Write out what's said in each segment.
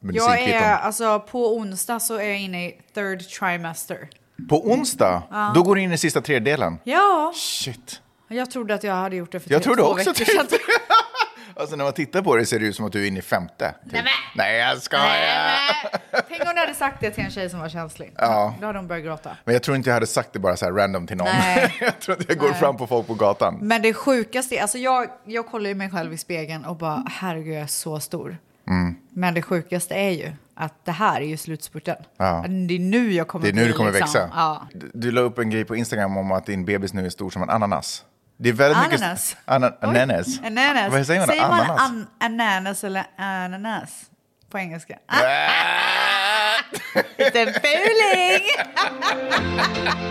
medicinkvitton. Jag är, alltså på onsdag så är jag inne i third trimester. På onsdag, då går du in i sista tredjedelen. Ja, Shit. jag trodde att jag hade gjort det för Jag tre- trodde två också veckor typ sedan. det. Alltså när man tittar på det ser det ut som att du är inne i femte. Typ. Nej, men- Nej jag skojar! Tänk om du hade sagt det till en tjej som var känslig. Då hade hon börjat gråta. Men jag tror inte jag hade sagt det bara så här random till någon. Nej. jag tror att jag går fram på folk på gatan. Men det sjukaste, är- alltså jag, jag kollar ju mig själv i spegeln och bara herregud jag är så stor. Mm. Men det sjukaste är ju att det här är ju slutspurten. Ja. Det är nu jag kommer Det är nu bli, du kommer liksom. växa. Ja. Du, du la upp en grej på Instagram om att din bebis nu är stor som en ananas. Det är väldigt Ananas? mycket... Ana, ananas? Ananas. Vad säger man? säger man ananas? an- ananas eller ananas på engelska? Lite fuling!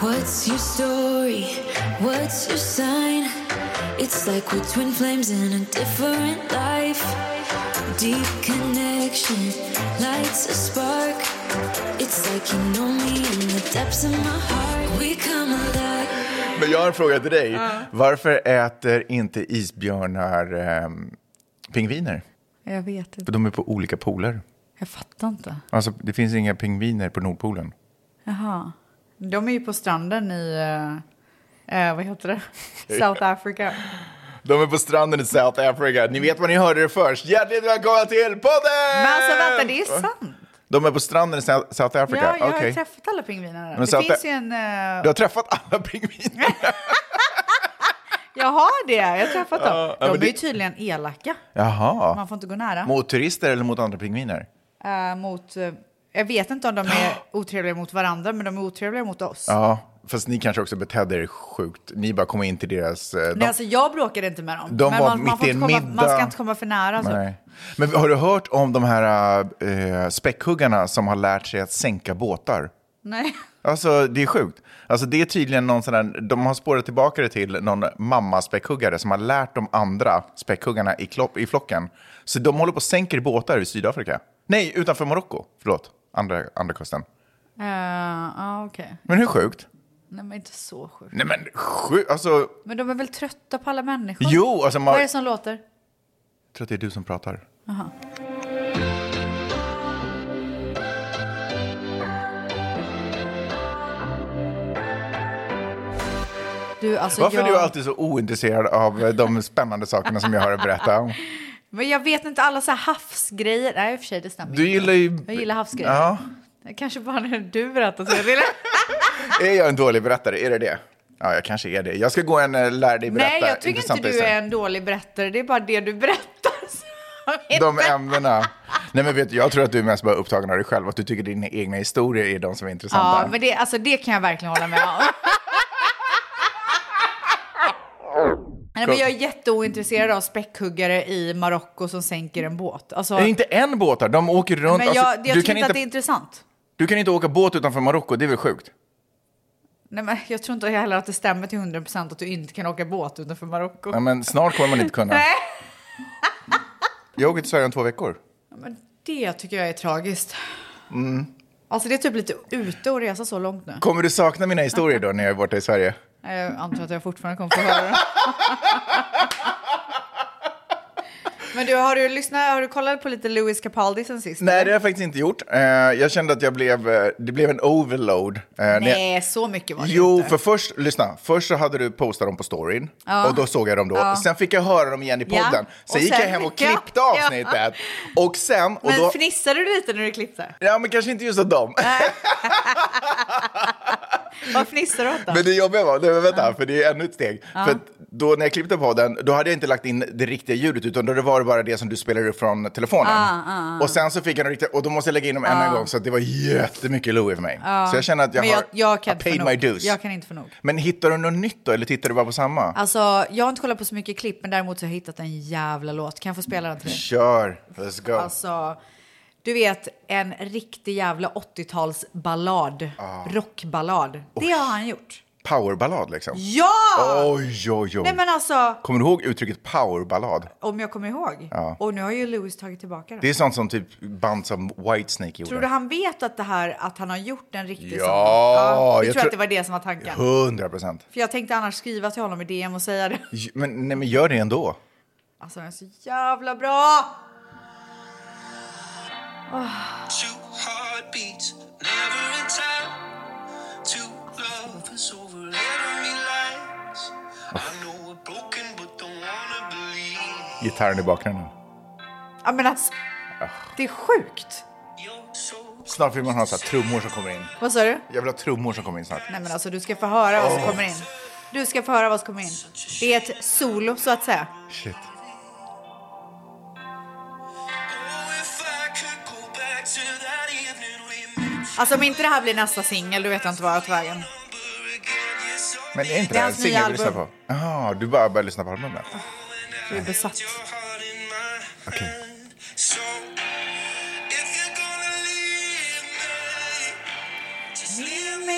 What's your story? What's your sign? It's like we're twin flames in a different life. Deep connection lights a spark. It's like you know me in the depths of my heart. We come alive. Men jag har en fråga till dig. Varför äter inte isbjörnar ehm, pingviner? Jag vet inte. För de är på olika poler. Jag fattar inte. Alltså det finns inga pingviner på Nordpolen. Jaha. De är ju på stranden i, eh, eh, vad heter det? South Africa. De är på stranden i South Africa. Ni vet vad ni hörde det först. Hjärtligt välkomna till podden! Men alltså vänta, det är sant. De är på stranden i South South Africa? Ja, jag har Eh, Okej. ju träffat alla pingviner där. Men Det South- finns ju en... eh, Du har träffat alla pingviner? Jag har det, jag har träffat dem. ja, De är men ju det- tydligen elaka. Jaha. Man får inte gå nära. Mot turister eller mot andra pingviner? Eh, mot... eh, jag vet inte om de är otrevliga mot varandra, men de är otrevliga mot oss. Ja, fast ni kanske också betedde er sjukt. Ni bara kom in till deras... eh, Nej, De, alltså jag bråkade inte med dem. De men var man, man, mitt får i inte en komma, man ska middag. inte komma för nära. Så. nej. Men har du hört om de här eh, späckhuggarna som har lärt sig att sänka båtar? Nej. Alltså det är sjukt. Alltså det är tydligen någon sån där, de har spårat tillbaka det till någon mamma späckhuggare som har lärt de andra späckhuggarna i, klopp, i flocken. Så de håller på och sänker båtar i Sydafrika. Nej, utanför Marocko. Förlåt, andra, andra kusten. Eh, Ja, okej. Men hur sjukt? Nej, men inte så sjukt. Nej men sjukt, alltså. Jag Men de är väl trötta på alla människor? Jo, alltså man- Vad är det som låter? tror att det är du som pratar. Du, alltså Varför jag... är du alltid så ointresserad av eh, de spännande sakerna som jag har att berätta om? Men jag vet inte, alla så här havsgrejer. Nej, i och för sig, det stämmer Du inte. gillar ju... Jag gillar havsgrejer. Ja. Det Kanske bara när du berättar så jag vill... Är jag en dålig berättare? Är det det? Ja, jag kanske är det. Jag ska gå en eh, lär dig berätta. Nej, jag tycker inte intressanta du historier. är en dålig berättare. Det är bara det du berättar. som är- de ämnena. Nej, men vet, du, jag tror att du är mest bara upptagen av dig själv, att du tycker dina egna historier är de som är intressanta. Ja, men det, alltså, det kan jag verkligen hålla med om. Nej, men jag är jätteointresserad av späckhuggare i Marocko som sänker en båt. Alltså, Det är inte en båtar, de åker runt. men jag, jag alltså, tycker du, inte kan inte, att det är intressant. du kan inte åka båt utanför Marocko, det är väl sjukt? Nej, men jag tror inte heller att det stämmer till 100% att du inte kan åka båt utanför Marocko. Nej, men snart kommer man inte kunna. Nej. Jag åker till Sverige om två veckor. Ja, Men det tycker jag är tragiskt. Mm. Alltså det är typ lite ute och resa så långt nu. Kommer du sakna mina historier då när jag är borta i Sverige? Jag antar att jag fortfarande kommer få höra det. Men du, har du, lyssnat, har du kollat på lite Lewis Capaldi sen sist? Nej, det eller? har jag faktiskt inte gjort. Eh, jag kände att jag blev, eh, det blev en overload. Eh, när jag- Nej, så mycket var det Jo, inte. för först, lyssna, först så hade du postat dem på storyn och då såg jag dem då. Sen fick jag höra dem igen i Ja. podden. Sen, Och gick jag sen- hem och Ja. klippte avsnittet. Och sen, och Men då... fnissade du lite när du klippte? Ja, men kanske inte just av dem. Vad fnissade du åt då? Men det jobbiga var, nej, men vänta, för det är ännu ett steg. För att då när jag klippte podden, då hade jag inte lagt in det riktiga ljudet, utan då var det bara det som du spelade upp från telefonen. Ah, Och sen så fick jag den riktiga, och då måste jag lägga in dem ännu en gång, så att det var jättemycket Louie för mig. Så jag känner att jag Ah. Men jag, har jag kan I inte paid få my nog. dues. Jag kan inte få nog. Men hittar du något nytt då, eller tittar du bara på samma? Alltså, jag har inte kollat på så mycket klipp, men däremot så har jag hittat en jävla låt. Kan jag få spela den till dig? Kör, let's go. Alltså, du vet, en riktig jävla 80-talsballad. Rockballad. Det har han gjort. Powerballad liksom. Ja! Oj, oj, oj. Nej men alltså, Kommer du ihåg uttrycket powerballad? om jag kommer ihåg. Och nu har ju Louis tagit tillbaka det. Det är sånt som typ band som Whitesnake gjorde. Tror du han vet att det här, att han har gjort en riktig Ja, sån? Ja, jag jag tror, tror- att det var det som var tanken. 100 procent. För jag tänkte annars skriva till honom i DM och säga det. Men, nej, men gör det ändå. Alltså den är så jävla bra! Two heartbeats, never in time. Two lovers over enemy lines. I know we're broken, but don't wanna believe. Gitarren i bakgrunden. Ja men alltså, det är sjukt. You're so Snart vill man ha så här trummor som kommer in. Vad sa du? Jag vill ha trummor som kommer in snart. Nej men alltså du ska få höra vad som kommer in. Du ska få höra vad som kommer in. Det är ett solo så att säga. Shit. Oh, if I could go back to that evening we met Alltså om inte det här blir nästa singel, då vet jag inte vad jag har tagit vägen. number again, yes, I'll Men är inte Det det är här en hans nya singel vi lyssnar på? album. Jaha, du bara börjar lyssna på albumet? Jag är besatt. your heart in my Okay. hand. So, if you're gonna leave me, just leave me.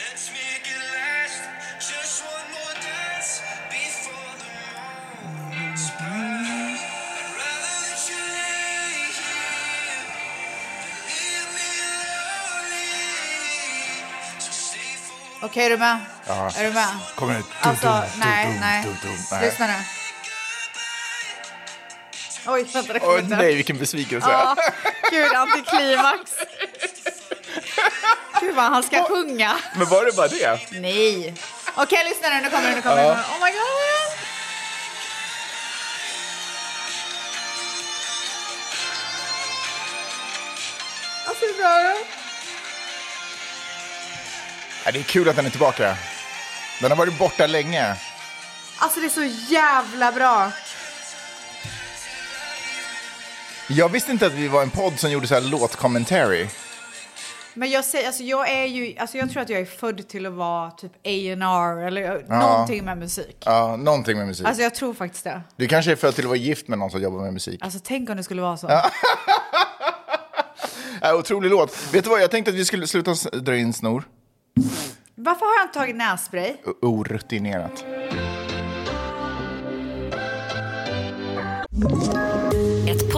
Let's make it last. Just one more dance before the morning's past. I'd rather that you lay here than leave me lonely. So stay for Okej, är du med? Är du med? Kommer det... Alltså, nej, nej. Lyssna nu. Oh. Oj, vänta, det kom Åh inte. nej, vilken besvikelse. Ja, gud, antiklimax. Gud vad han ska sjunga. Men var det bara det? Nej. Okej, lyssna nu. Nu kommer det, nu kommer det. nu kommer det. Oh my god. Alltså, hur bra är det? Ja, det är kul att den är tillbaka. Den har varit borta länge. Alltså, det är så jävla bra. Jag visste inte att vi var en podd som gjorde så här låtcommentary. Men jag säger, alltså jag är ju, alltså jag tror att jag är född till att vara typ A&R eller någonting med musik. Ja, någonting med musik. Alltså jag tror faktiskt det. Du kanske är född till att vara gift med någon som jobbar med musik. Alltså tänk om det skulle vara så. Äh, otrolig låt. Vet du vad, jag tänkte att vi skulle sluta s- dra in snor. Varför har jag inte tagit nässpray? O- Orutinerat. Ett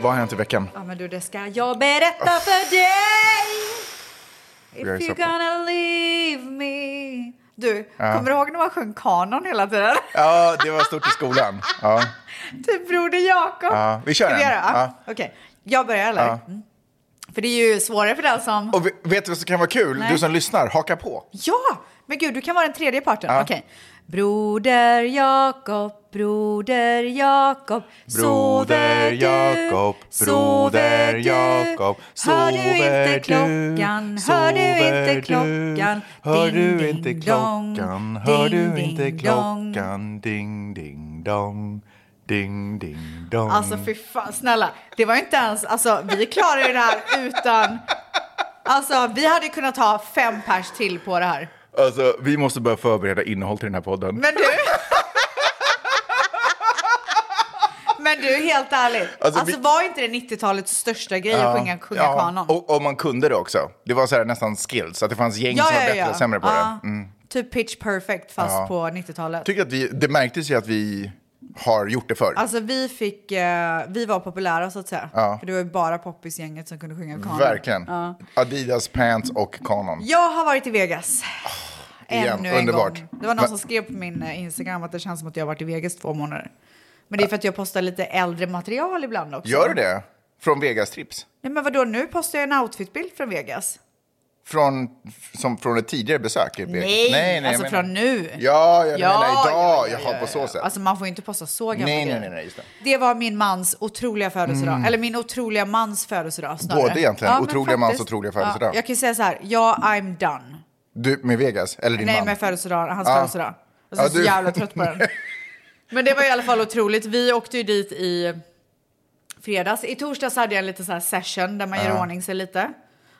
Vad har hänt i veckan? Ja men du det ska jag berätta för dig. If Jag är så you're på. gonna leave me. Du, kommer du ihåg när man sjöng kanon hela tiden? Ja, det var stort i skolan. Ja. Typ Broder Jakob. Ja, vi kör Ska den. göra? Ja. Ja. Okej, jag börjar eller? Ja. Mm. För det är ju svårare för den som... Och ve- vet du vad som kan vara kul? Nej. Du som lyssnar, haka på. Ja, men gud, du kan vara den tredje parten. Okej. Broder Jakob, broder Jakob, Broder sover du? Jakob, broder sover du? Jakob, Hör du sover inte du? klockan? Hör du Sover inte du? klockan? Hör Ding, du inte ding, dong. klockan? Hör Ding, du inte ding, dong. klockan? Ding, ding, dong. Ding, ding, dong. Alltså fy fan, snälla. Det var ju inte ens, alltså vi klarade ju det här utan... Alltså vi hade kunnat ha fem pers till på det här. Alltså, vi måste börja förbereda innehåll till den här podden. Men du... Men du, helt ärligt. Alltså, Alltså, vi- var inte det 90-talets största grej att sjunga sjunga ja, kanon? Och, och man kunde det också. Det var så här, nästan skills, att det fanns gäng som var bättre och sämre på Ja, det. Mm. Typ pitch perfect fast Ja. på 90-talet. Tycker att vi, det märktes ju att vi har gjort det förr. Alltså vi fick, eh, vi var populära så att säga. För det var ju bara poppisgänget som kunde sjunga kanon. Verkligen. Adidas pants och kanon. Jag har varit i Vegas. Ah, igen, Ännu en underbart. gång. Det var någon Va- som skrev på min eh, Instagram att det känns som att jag har varit i Vegas två månader. Men det är för att jag postar lite äldre material ibland också. Gör du det? Från Vegas trips? Nej men vadå, nu postar jag en outfitbild från Vegas. Från, som från ett tidigare besök? i Birgit? Nej, nej, alltså men- från nu. Ja, jag menar idag. ja, ja, Jaha, ja, på så ja. sätt. Alltså man får ju inte posta så gamla nej, nej, grejer. nej, nej, just det. Det var min mans otroliga födelsedag, eller min otroliga mans födelsedag snarare. Både egentligen, men otroliga mans faktiskt. otroliga födelsedag. Ja, jag kan ju säga så här, ja, I'm done. Du, med Vegas? Eller din Nej, man? med födelsedagen, hans Ja. födelsedag. Alltså, Ja, du- Jag är så jävla trött på den. Men det var i alla fall otroligt. Vi åkte ju dit i fredags. I torsdags hade jag en liten så här session där man gör i ordning sig lite.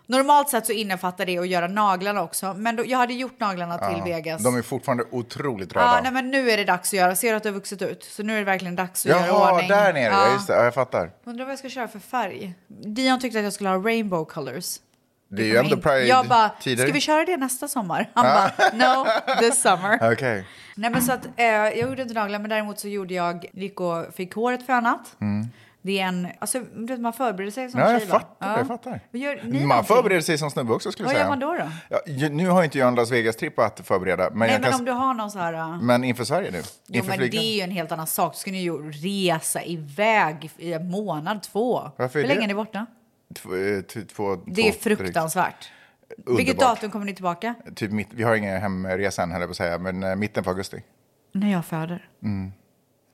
Normalt sett så innefattar det att göra naglarna också, men då, jag hade gjort naglarna till Vegas. De är fortfarande otroligt röda. Ja, nej, men nu är det dags att göra. Ser du att du har vuxit ut? Så nu är det verkligen dags att göra Jaha, ordning. där nere. Ja. Ja. Just det, ja, jag fattar. Undrar vad jag ska köra för färg. Dion tyckte att jag skulle ha rainbow colors. Det är ju ändå Jag bara, Pride-tider. ska vi köra det nästa sommar? Han bara, no, this summer. Okej. Nej men så att eh, jag gjorde inte naglar men däremot så gjorde jag, gick och fick håret fönat. Det är en, alltså du vet, man förbereder sig som Mm. Ja, tjej jag va? fattar. Jag fattar. Men Gör, ni man någonting? förbereder sig som snubbe också skulle Vad jag säga. gör man då då? Ja, ju- nu har inte jag en Las Vegas-tripp att förbereda. Men, Nej jag men kan... om du har någon så här... eh, men inför Sverige nu? Jo inför men det är ju en helt annan sak. Du ska ni ju resa iväg i en månad, två. Varför är Hur länge det? är ni borta? Två, eh, t- två, Det är två, drygt. fruktansvärt. Underbart. Vilket datum kommer ni tillbaka? Typ mitt, vi har ingen hemresa än, höll jag på att säga, men eh, mitten på augusti. När jag föder.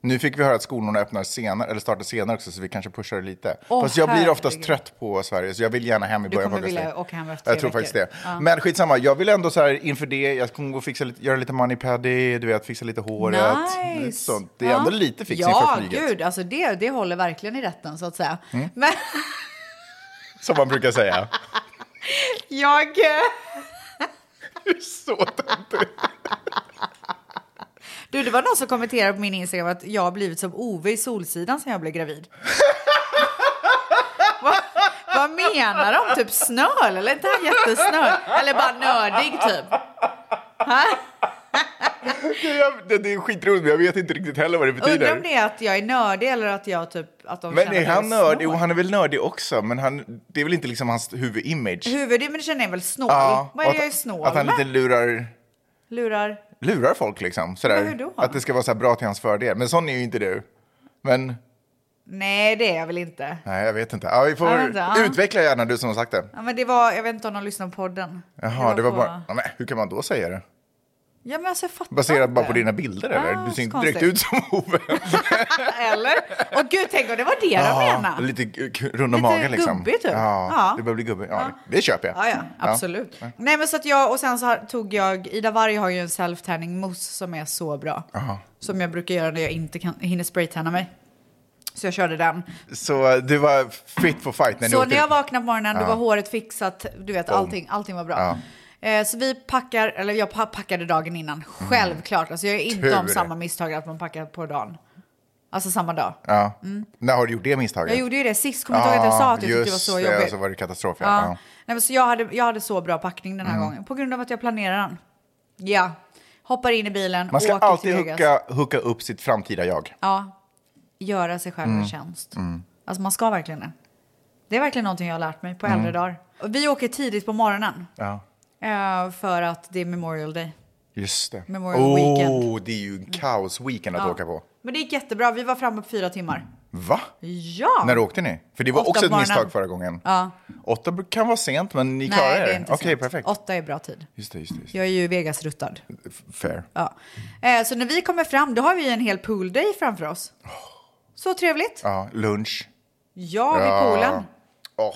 Nu fick vi höra att skolorna öppnar senare, eller startar senare också, så vi kanske pushar det lite. Åh, Fast jag blir oftast herregud. trött på Sverige, så jag vill gärna hem i början kommer på augusti. vilja åka hem efter Jag tre tror veckor. faktiskt det. Men skitsamma, jag vill ändå så här inför det, jag kommer gå och fixa lite, göra lite moneypaddy, du vet, fixa lite håret. lite Nice. Sånt. Det är Ja. ändå lite fix inför Ja, flyget, Mm. gud. Alltså det, det håller verkligen i rätten så att säga. Men som man brukar säga. jag... eh, så töntigt. Du, det var någon som kommenterade på min Instagram att jag har blivit som Ove i Solsidan sen jag blev gravid. vad, vad menar de? Typ snöl? Eller inte han jättesnöl? Eller bara nördig typ? Ha? Jag- Det, det är skitroligt, men jag vet inte riktigt heller vad det betyder. Undrar om det är att jag är nördig eller att jag typ... Att de Men känner är att jag han nördig? Jo, snål. han är väl nördig också, men han, det är väl inte liksom hans huvudimage? Huvudet, men det känner jag väl snål. Vad är och det jag är att- snål Att han lite med? lurar, Lurar. lurar folk liksom. Sådär. Men hur då? Att det ska vara så här bra till hans fördel. Men sån är ju inte du. Men, Nej, det är jag väl inte. nej jag vet inte. Ja, vi får Jag vet inte, ja. utveckla gärna du som har sagt det. Ja, men det var, jag vet inte om de lyssnar på podden. Jaha, det var på- bara, ja, men, hur kan man då säga det? Ja, men alltså, jag fattar Baserat inte. bara på dina bilder eller? Ah, Du ser inte så direkt ut konstigt. som Ove. Eller? Och gud, tänk om det var det de ja, menade. lite g- k- runda Lite magen liksom. gubbig, typ. Ja, Ja. det börjar bli gubbig. Ja, Det köper jag. Ja, ja, absolut. Nej, men så att jag, och sen så har- tog jag, Ida Warg har ju en self-tanning mousse som är så bra. Som jag brukar göra när jag inte kan, hinner spraytanna mig. Så jag körde den. Så eh, du var fit for fight när ni så åkte när jag vaknade på morgonen, då var håret fixat, du vet allting, allting var bra. Eh, Så vi packar, eller jag pa- packade dagen innan, självklart. Alltså jag är inte om Mm. Tur. samma misstag att man packar på dagen. Alltså samma dag. Ja. När har du gjort det misstaget? Mm. Jag gjorde ju det sist, kommer du ihåg att jag sa att jag tyckte det var just så jobbigt? Så var det katastrof. Ja. Mm. Ja. Ja. Nej, men så jag, hade, jag hade så bra packning den här gången på grund av att jag planerar den. Ja, hoppar in i bilen, Man ska åker alltid till Vegas. hooka, hooka upp sitt framtida jag. Ja, göra sig själv Mm. en tjänst. Alltså man ska verkligen det. Det är verkligen någonting jag har lärt mig på Mm. äldre dagar. Och Vi åker tidigt på morgonen Ja. eh, för att det är Memorial Day. Just det. Memorial oh, Weekend. Mm. Det är ju en kaosweekend att åka på. Men det gick jättebra, vi var framme på fyra timmar. Va? Ja! När åkte ni? För det var Åtta också på ett morgonen. misstag förra gången. Ja. Åtta br- kan vara sent, men ni klarar Nej, det är er. inte Okej, sent. perfekt. Åtta är bra tid. Just det, just det. Just det. Jag är ju Vegas-ruttad. F- Fair. Ja. Eh, Så när vi kommer fram, då har vi en hel poolday framför oss. Så trevligt. Ja, lunch. Ja, vid poolen. Åh,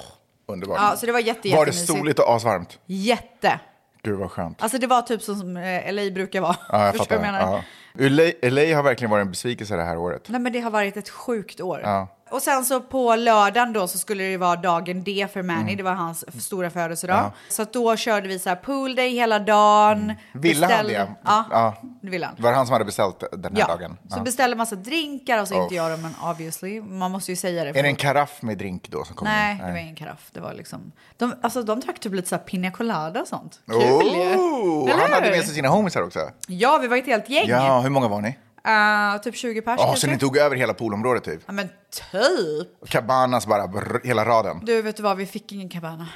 underbart. Ja, så det var jätte, var det jättemysigt. soligt och asvarmt? Jätte. Gud, vad skönt. Alltså det var typ så som eh, LA brukar vara. Ja, jag Förstår fattar. du vad jag menar? Ja. LA, LA har verkligen varit en besvikelse det här året. Nej men det har varit ett sjukt år. Ja. Och sen så på lördagen då så skulle det vara dagen D för Manny, Mm. det var hans f- stora födelsedag. Så att då körde vi så här pool day hela dagen. Mm. Ville han Beställde- det? Ja, Ja. det ville han. Det var han som hade beställt den här Ja. dagen. Så Ja. beställde massa drinkar och så Uff. inte jag dem men obviously. Man måste ju säga det. Är för- det en karaff med drink då som kommer Nej, in? det var ingen karaff. Det var liksom... De, alltså, de drack typ lite så här pina colada och sånt. Kul Oh, Eller han hade hur? med sig sina homisar också. Ja, vi var ett helt gäng. Ja, hur många var ni? Eh, typ 20 pers Ja, kanske. så ni tog över hela poolområdet typ? Ja, men typ. Cabanas bara, brr, hela raden. Du, vet du vad? Vi fick ingen cabana.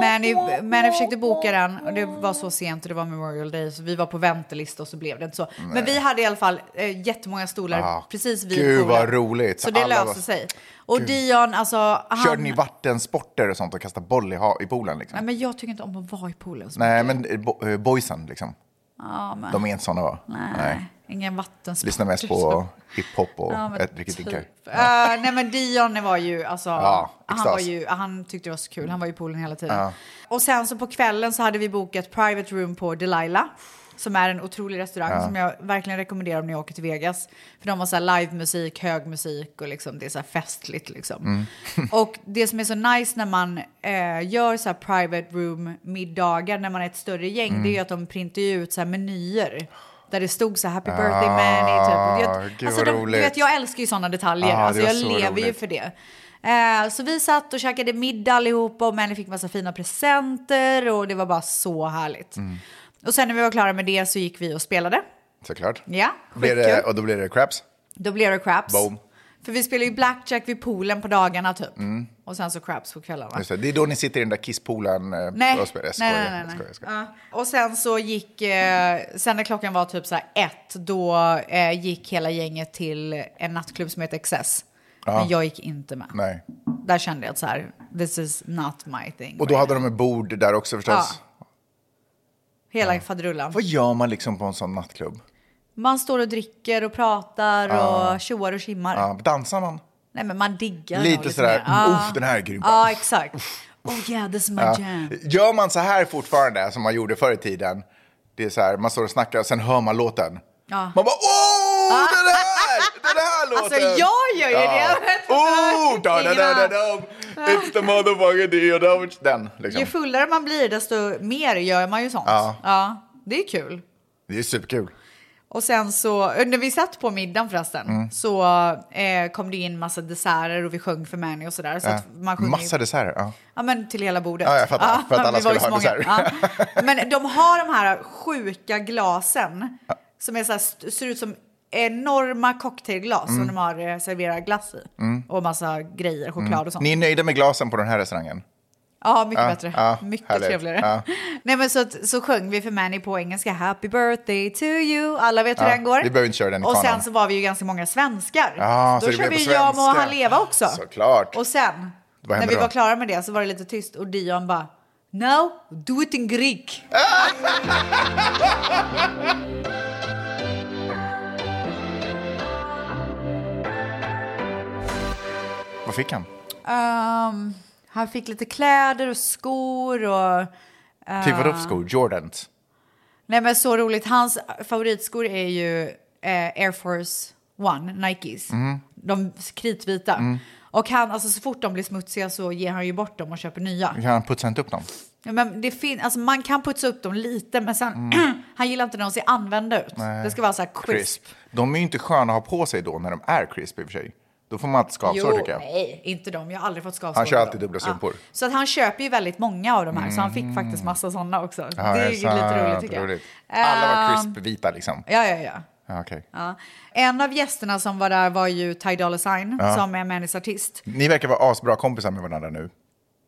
Men jag, men jag försökte boka den och det var så sent och det var Memorial Day så vi var på väntelista och så blev det inte så. Men vi hade i alla fall eh, jättemånga stolar Ah, precis vid gud, vad poolen. roligt. Så det Alla löste var- sig. Och Dion, alltså han... Körde ni vattensporter och sånt och kastade boll i, ha- i poolen? Liksom? Nej men jag tycker inte om att vara i poolen. Så Nej, men eh, bo- eh, boysen liksom. De är inte sådana va? Nej. Ingen vattensport. Lyssnar mest på hiphop och Ja, men ja, dricker drinkar. typ. Eh, nej men Dion var ju, alltså, Ja, han, extas. var ju, han tyckte det var så kul, han var ju i poolen hela tiden. Och sen så på kvällen så hade vi bokat private room på Delilah. Som är en otrolig restaurang som jag verkligen rekommenderar om ni åker till Vegas. För de har så här livemusik, hög musik och liksom det är så här festligt liksom. Mm. och det som är så nice när man eh, gör så här private room middagar när man är ett större gäng Mm. det är ju att de printar ju ut så här menyer. Där det stod så här happy birthday Manny typ. Ah, Jag- gud, alltså, vad de, du roligt. vet, jag älskar ju sådana detaljer. Ah, det alltså, var jag så lever ju roligt. för det. Eh, så vi satt och käkade middag allihopa och Melly fick massa fina presenter och det var bara så härligt. Mm. Och sen när vi var klara med det så gick vi och spelade. Såklart. Ja, Blir skitkul. det, och då blir det craps. Då blev det craps. Boom. För vi spelade ju blackjack vid poolen på dagarna typ. Mm. Och sen så craps på kvällarna. Just det. det är då ni sitter i den där kisspoolen eh, Nej. och spelar. Jag skojar, nej, nej, nej. jag nej. skojar, jag skojar. Ja. Och sen så gick, eh, sen när klockan var typ så här ett, då eh, gick hela gänget till en nattklubb som heter Excess. Men jag gick inte med. Nej. Där kände jag att så här, this is not my thing. Och då hade de ett bord där också förstås. Hela faderullan. Vad gör man liksom på en sån nattklubb? Man står och dricker och pratar och tjoar och tjimmar. Ja, dansar man? Nej men man diggar Lite något sådär, mer. Ja. "Uff, den här är grym." Ja exakt. Oh yeah, this is my jam. Gör man så här fortfarande som man gjorde förr i tiden? Det är så här, man står och snackar och sen hör man låten. Man bara åh, den här, den här låten! Alltså, jag gör ju det. Oh, da, da, da, da, da. It's the motherfucking oh, deal. Den, Ju liksom. fullare man blir desto mer gör man ju sånt. Ja. ja det är kul. Det är superkul. Och sen så, när vi satt på middagen förresten, Mm. så eh, kom det in massa desserter och vi sjöng för Mani och sådär. Så Ja. att man sjunger ju- Massa desserter. Ja. Ja men till hela bordet. Ja, jag fattar. För att alla vi var ju skulle så ha en många. Ja. Men de har de här sjuka glasen som är så här, st- ser ut som enorma cocktailglas Mm. som de har eh, serverat glass i. Och massa grejer, choklad och sånt. Ni är nöjda med glasen på den här restaurangen? Ja, mycket Ja, bättre. ja, mycket härligt. trevligare. Ja. Nej men så, att- så sjöng vi för Manny på engelska, happy birthday to you. Alla vet hur Ja, den går. vi behöver inte köra den i Och sen kanon. så var vi ju ganska många svenskar. Ja, Då så det körde blev vi på jag må svenska. han leva också. Såklart. Och sen, Vad när hände vi då? var klara med det så var det lite tyst och Dion bara, no, do it in Greek. Äh. Vad fick han? Ehm, han fick lite kläder och skor och... Eh. Typ vadå för skor? Jordans? Nej men så roligt, hans favoritskor är ju eh, Air Force One, Nikes. Mhm. De kritvita. Mm. Och han, alltså så fort de blir smutsiga så ger han ju bort dem och köper nya. Kan han putsa inte upp dem? Ja, Men det fin- alltså, man kan putsa upp dem lite men sen, Mm. han gillar inte när de ser använda ut. Det ska vara så här crisp. De är ju inte sköna att ha på sig då när de är crisp i och för sig. Då får man alltid skavsår Jo, tycker jag. nej, inte dem. Jag har aldrig fått skavsår. Han kör av alltid dem. dubbla Mm. strumpor. Ja. Så att han köper ju väldigt många av de här. Så han fick faktiskt massa sådana också. det är ju sant, lite roligt tycker roligt. jag. Alla var Ehm, crisp-vita liksom. Ja, ja, ja. Ja, okej. Ja. En av gästerna som var där var ju Ty Dolla Sign som är Mannys artist. Ni verkar vara asbra kompisar med varandra nu.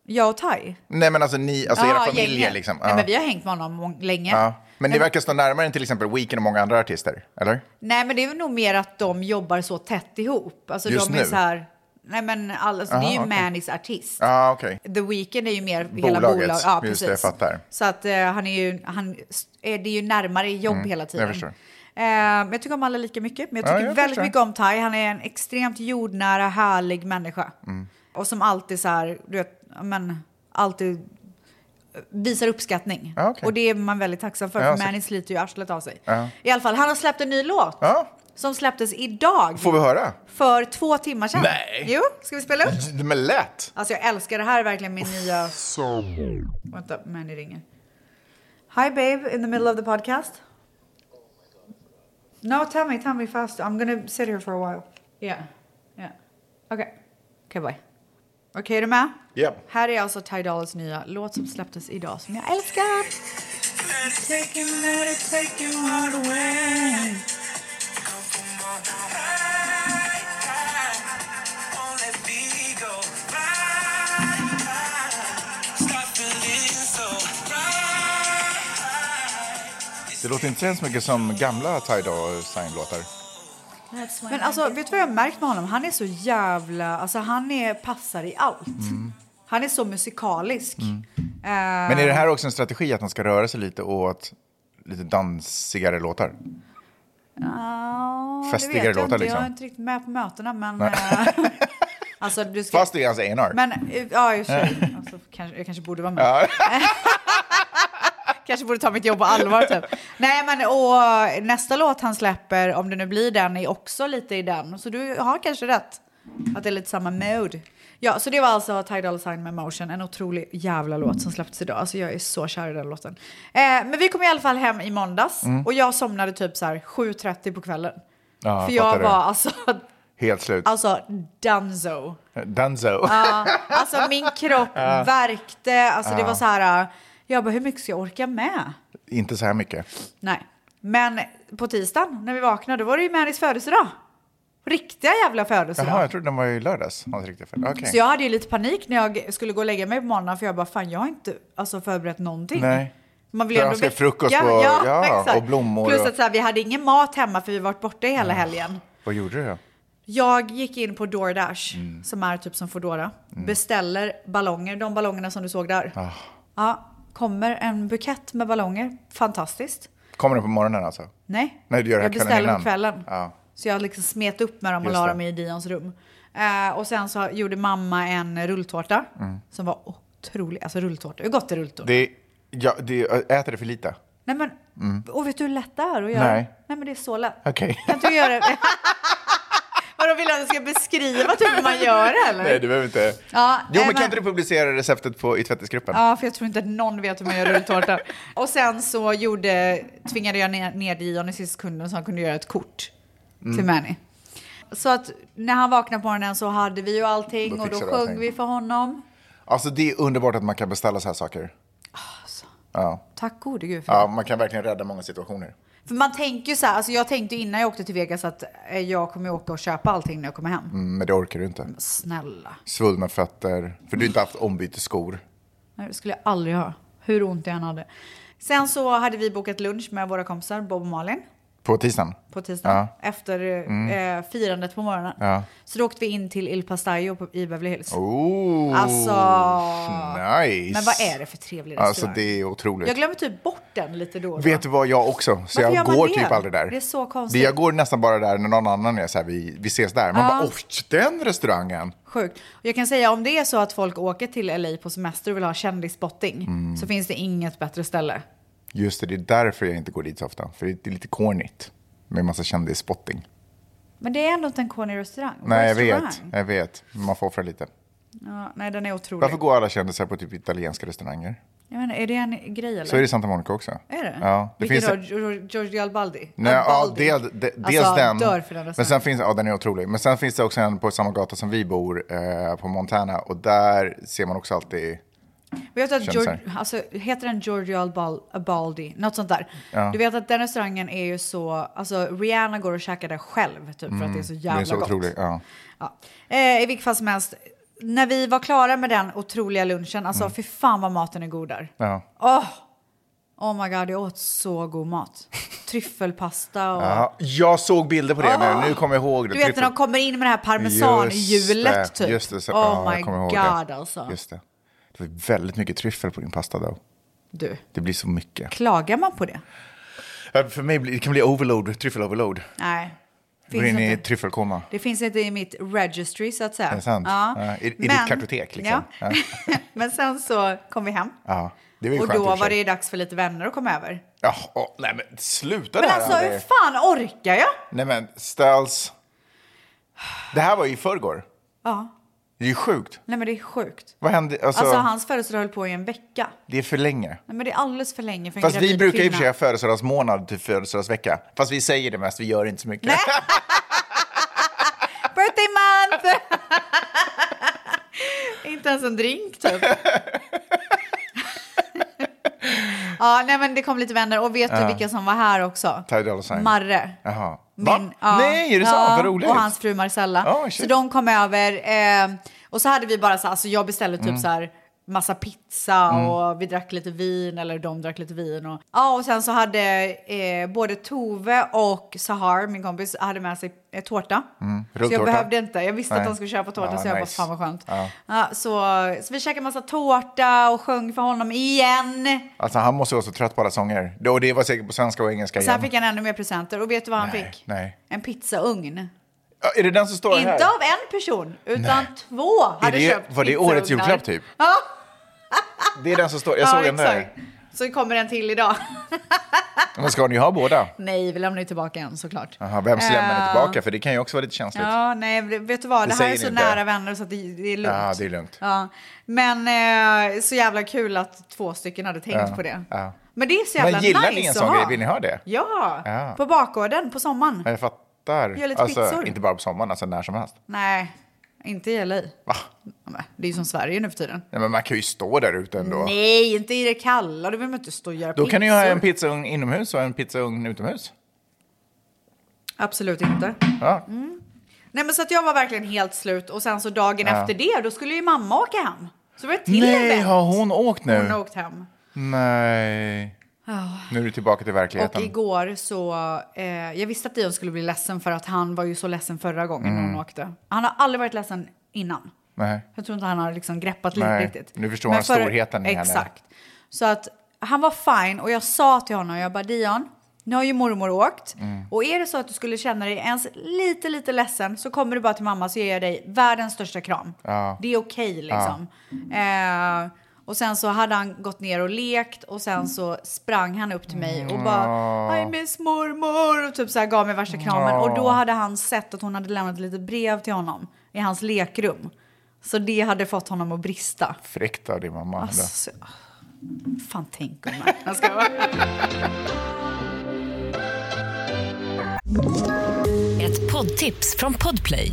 Jag och Ty. Nej men alltså ni, alltså era Ja, familjer gänget. liksom. Nej, Ja. men vi har hängt med honom mång- länge. Ja. Men ni verkar stå närmare än till exempel Weekend och många andra artister, eller? Nej, men det är väl nog mer att de jobbar så tätt ihop. Alltså, Just de är nu? Så här, nej, men alla, alltså, det är ju Aha, okej. Mannys artist. Ja, okej. The Weeknd är ju mer hela Bolaget. bolaget. Ja, Just precis. det, jag fattar. Så att eh, han är ju, han s- är det är ju närmare jobb hela tiden. Mm, jag förstår. Eh, men jag tycker om alla lika mycket. Men jag Ja, tycker jag väldigt förstår. mycket om Ty. Han är en extremt jordnära, härlig människa. Mm. Och som alltid så här, du vet, ja, men alltid visar uppskattning. Ja, okej. Och det är man väldigt tacksam för, Ja, för så- Manny sliter ju arslet av sig. Ja. I alla fall, han har släppt en ny låt. Ja. Som släpptes idag, Får vi höra? för två timmar sedan. Nej. Jo, ska vi spela upp? Men lätt! Alltså jag älskar det här är verkligen min nya... Vänta, Manny ringer. Hi babe, in the middle of the podcast. No, tell me, tell me fast. I'm gonna sit here for a while. Yeah, yeah. Okay. Okay, bye. Okej, är du med? Japp. Här är alltså Ty Dollas nya låt som släpptes idag som jag älskar. Let it take him, let it take him all the way. Come from on high, high. Don't let me go. Bye, bye. Stop believing. Det låter inte så mycket som gamla Tidal Sign-låtar. Men alltså, vet du vad jag har märkt med honom? Han är så jävla... Alltså, han är, passar i allt. Mm. Han är så musikalisk. Eh, Men är det här också en strategi att man ska röra sig lite åt lite dansigare låtar? Ja, det Festigare vet jag låtar, inte. liksom. Jag är inte riktigt med på mötena, men... eh, alltså, du ska... Fast det är hans A&R. Men, eh, ja, just det. Alltså, kanske, jag kanske borde vara med. kanske borde ta mitt jobb på allvar, typ. Nej, men och eh, nästa låt han släpper, om det nu blir den, är också lite i den. Så du har kanske rätt. Att det är lite samma mode. Ja, så det var alltså Tidal Sign med Motion, en otrolig jävla låt som släpptes idag. Alltså jag är så kär i den låten. Eh, men vi kom i alla fall hem i måndags och jag somnade typ så här 7.30 på kvällen. Mm. Ja, För jag jag fattar det. var alltså, Helt slut. alltså donezo. Danzo. Alltså min kropp värkte, alltså det var så här, äh, jag bara hur mycket ska jag orka med? Inte så här mycket. Nej, men på tisdagen när vi vaknade då var det ju Marys födelsedag. Riktiga jävla födelsedag. Jaha, jag trodde den var i lördags. Hans riktiga födelsedag. Okej. Mm. Så jag hade ju lite panik när jag skulle gå och lägga mig på morgonen för jag bara fan jag har inte alltså, förberett någonting. Nej. Man vill För ju ändå önska väcka- frukost på- ja, exakt. och blommor Plus och- Ah. att så här, vi hade ingen mat hemma för vi varit borta hela helgen. Vad gjorde du då? Jag gick in på DoorDash, Mm. som är typ som Foodora. Beställer ballonger, de ballongerna som du såg där. Ah. Ja, kommer en bukett med ballonger, fantastiskt. Kommer den på morgonen alltså? Nej, Nej, du gör det jag kvällen beställer på innan. kvällen. Ja. Så jag liksom smet upp med dem och Just la det. dem i Dions rum. Eh, och sen så gjorde mamma en rulltårta Mm. som var otrolig. Alltså rulltårta, hur gott är rulltårta? Det, ja, det, äter det för lite? Nej men, och vet du hur lätt det är att göra? Nej. Nej men det är så lätt. Okej. Kan inte du göra det? Vadå, vill du att jag ska beskriva typ hur man gör det eller? Nej, du behöver inte. Ja, jo, men nej, kan men- inte du publicera receptet på, i tvättisgruppen? Ja, för jag tror inte att någon vet hur man gör rulltårta. och sen så gjorde, tvingade jag ner, ner Dion i sista kunden så han kunde göra ett kort till Mm. Manny. Så att när han vaknade på morgonen så hade vi ju allting Då och då fixade sjöng du allting. vi för honom. Alltså, det är underbart att man kan beställa så här saker. Ja. Tack gode gud. För, ja, man kan verkligen rädda många situationer. det. för man tänker ju så här, alltså jag tänkte ju innan jag åkte till Vegas att eh, jag kommer ju åka och köpa allting när jag kommer hem. Mm, Men det orkar du inte. Snälla, Svullna fötter, för du har inte haft ombytesskor. Nej, det skulle jag aldrig ha. Hur ont jag än hade. Sen så hade vi bokat lunch med våra kompisar Bob och Malin. På tisdagen? på tisdagen efter eh, eh, firandet på morgonen. Mm. Ja. Så då åkte vi in till Il Pastaio på, i Beverly Hills. Oh, Alltså, nice. Men vad är det för trevlig restaurang? Alltså, det är otroligt. Jag glömmer typ bort den lite då. och då. Vet du vad, jag också. Så Varför gör jag man går det? typ aldrig där. Det är så konstigt. Det- Jag går nästan bara där när någon annan är så här, vi, vi ses där. Man bara, åh, den restaurangen. Sjukt. Och jag kan säga om det är så att folk åker till LA på semester och vill ha kändisspotting Mm. så finns det inget bättre ställe. Just det, det är därför jag inte går dit så ofta. För det är lite cornigt med massa kändisspotting. Men det är ändå inte en corny restaurang. Nej, jag vet. Restaurang. Jag vet. Man får offra lite. Ja, nej, den är otrolig. Varför går alla kändisar på typ italienska restauranger? Jag menar, är det en grej eller? Så är det i Santa Monica också. Är det? Ja. Det Vilket finns då? Gio- Giorgio Albaldi? Nej, ja, Albaldi. del, de, dels alltså, den. dör för den restaurangen. men sen finns, ja, den är otrolig. Men sen finns det också en på samma gata som vi bor, eh, på Montana. Och där ser man också alltid... Vet du att Kändisar. George, alltså, heter den Giorgio Albal- Albaldi? Något sånt där. Du vet att den restaurangen är ju så... Alltså, Rihanna går och käkar där själv typ, för att det är så jävla Mm. det är så gott. otroligt. Ja. Ja. Eh, I vilket fall som helst, när vi var klara med den otroliga lunchen, Mm. alltså fy fan vad maten är god där. Ja. Åh! Oh my god, jag åt så god mat. Tryffelpasta och... Ja, jag såg bilder på det nu. Nu kommer jag ihåg det. Du vet Tryffel- när de kommer in med det här parmesanhjulet Just det, typ. Just det, så, oh ja, my jag kommer ihåg god det. alltså. Just det. det var väldigt mycket tryffel på din pasta då. Du, Det blir så mycket. klagar man på det? Ja, För mig blir, det kan bli overload, tryffel-overload. Nej. Går in i tryffelkoma. Det finns inte i mitt registry så att säga. Är det sant? Ja. Ja, i- i ditt Men- kartotek, liksom. Ja. Men sen så kom vi hem. Ja, det var ju Och skönt i och då för var sig. det dags för lite vänner att komma över. Ja, åh, nej men sluta Men där alltså hur André. fan orkar jag? Nej men ställs. Det här var ju i förrgår. Ja. Det är ju sjukt. Nej men det är sjukt. Vad hände? Alltså, Alltså hans födelsedag höll på i en vecka. Det är för länge. Nej men det är alldeles för länge för en Fast vi gravid brukar i och kvinna. för sig ha födelsedagsmånad till födelsedagsvecka. Fast vi säger det mest, vi gör inte så mycket. Birthday month! Inte ens en drink typ. ja, nej men det kom lite vänner. Och vet du vilka som var här också? Tidal Sign. Marre. Jaha. Va? Min, ja. Nej, är det Ja, sant? Vad roligt. Och hans fru Marcella. Ja, shit. Mm. så de kom över. Eh, och så hade vi bara så här, alltså jag beställde typ så här massa pizza och vi drack lite vin, eller de drack lite vin. Och, ja, och sen så hade eh, både Tove och Sahar, min kompis, hade med sig eh, tårta. så Mm, rulltårta. jag behövde inte, jag visste att Nej. de skulle köpa tårta Ja, så jag nice. bara fan vad skönt. Ja. Ja, så, så vi käkade massa tårta och sjöng för honom igen. Alltså han måste vara så trött på alla sånger. Det- Och det var säkert på svenska och engelska Sen igen. fick Alltså, han ännu mer presenter och vet du vad han Nej, fick? nej. En pizzaugn. Ja, Är det den som står här? Inte av en person, utan två hade det- köpt var det årets pizzaugnar. julklapp, typ? Ja, Det är den som står, jag såg ja den där. exakt. Så kommer en till idag. Men ska ni ha båda? nej, vi lämnar ju tillbaka en såklart. Jaha, vem ska lämna den Eh, tillbaka? För det kan ju också vara lite känsligt. Ja, Ja, nej, vet du vad? Det Det, här säger är ni så inte. nära vänner så att det, det är lugnt. det är lugnt. Ja. Men eh, så jävla kul att två stycken hade tänkt Ja, på det. ja. Men det är så jävla Men gillar nice ni en att sån ha. grej? Vill ni ha det? Ja, Ja. på bakgården på sommaren. Ja, Jag fattar. Gör lite alltså, pizzor. Inte bara på sommaren, alltså när som helst. Nej, inte i LA. Va? Nej, Det är ju som Sverige nu för tiden. Nej, men man kan ju stå där ute ändå. Nej, inte i det kalla. Då vill man inte stå och göra Då pizzor. kan ni ju ha en pizzaugn inomhus och en pizzaugn utomhus. Absolut inte. Mm. Ja. Nej, men så att jag var verkligen helt slut. Och sen så dagen efter det, då skulle ju mamma åka hem. Så var det till Nej, event. har hon åkt nu? Hon har åkt hem. Nej. Nu är du tillbaka till verkligheten. Och igår så, eh, jag visste att Dion skulle bli ledsen för att han var ju så ledsen förra gången Mm. hon åkte. Han har aldrig varit ledsen innan. Nej. Jag tror inte han har liksom greppat Nej, livet riktigt. nu förstår han storheten i henne. Exakt. Så att han var fine och jag sa till honom, jag bara Dion, nu har ju mormor åkt. Mm. Och är det så att du skulle känna dig ens lite, lite ledsen så kommer du bara till mamma så ger jag dig världens största kram. Ja. Det är okej liksom. Eh, och sen så hade han gått ner och lekt och sen så sprang han upp till mig och bara I miss mormor och typ så här gav mig värsta kramen. Och då hade han sett att hon hade lämnat ett litet brev till honom i hans lekrum. Så det hade fått honom att brista. Fräckt av din mamma. Alltså, fan tänk om man. Jag ska vara. Ett poddtips från Podplay.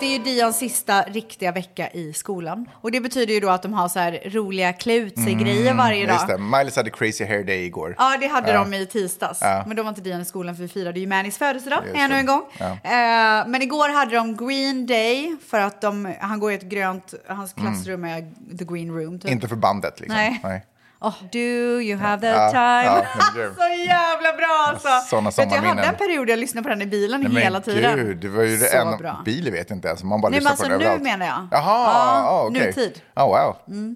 Det är ju Dions sista riktiga vecka i skolan. Och det betyder ju då att de har så här roliga klä ut sig-grejer varje dag. Just Mm, det. Miles hade crazy hair day igår. Ja, det hade de i tisdags. Men då var inte Dion i skolan för vi firade ju Mannys födelsedag Just det. ännu en gång. Ja. Eh, men igår hade de green day för att de, han går i ett grönt, hans klassrum är the green room typ. Mm. Inte för bandet liksom. Nej. Oh, do you have the Ja, time? ja, men grym. så jävla bra alltså! Såna Vet du, jag hade sommarminnen. en period jag lyssnade på den i bilen Nej, men hela tiden. Gud, det var ju det så enda... bra. Bil vet jag inte ens. Man bara Nej, lyssnar men alltså på den nu överallt. menar jag. Jaha, Ja, ah, okej. nutid. Ah, wow.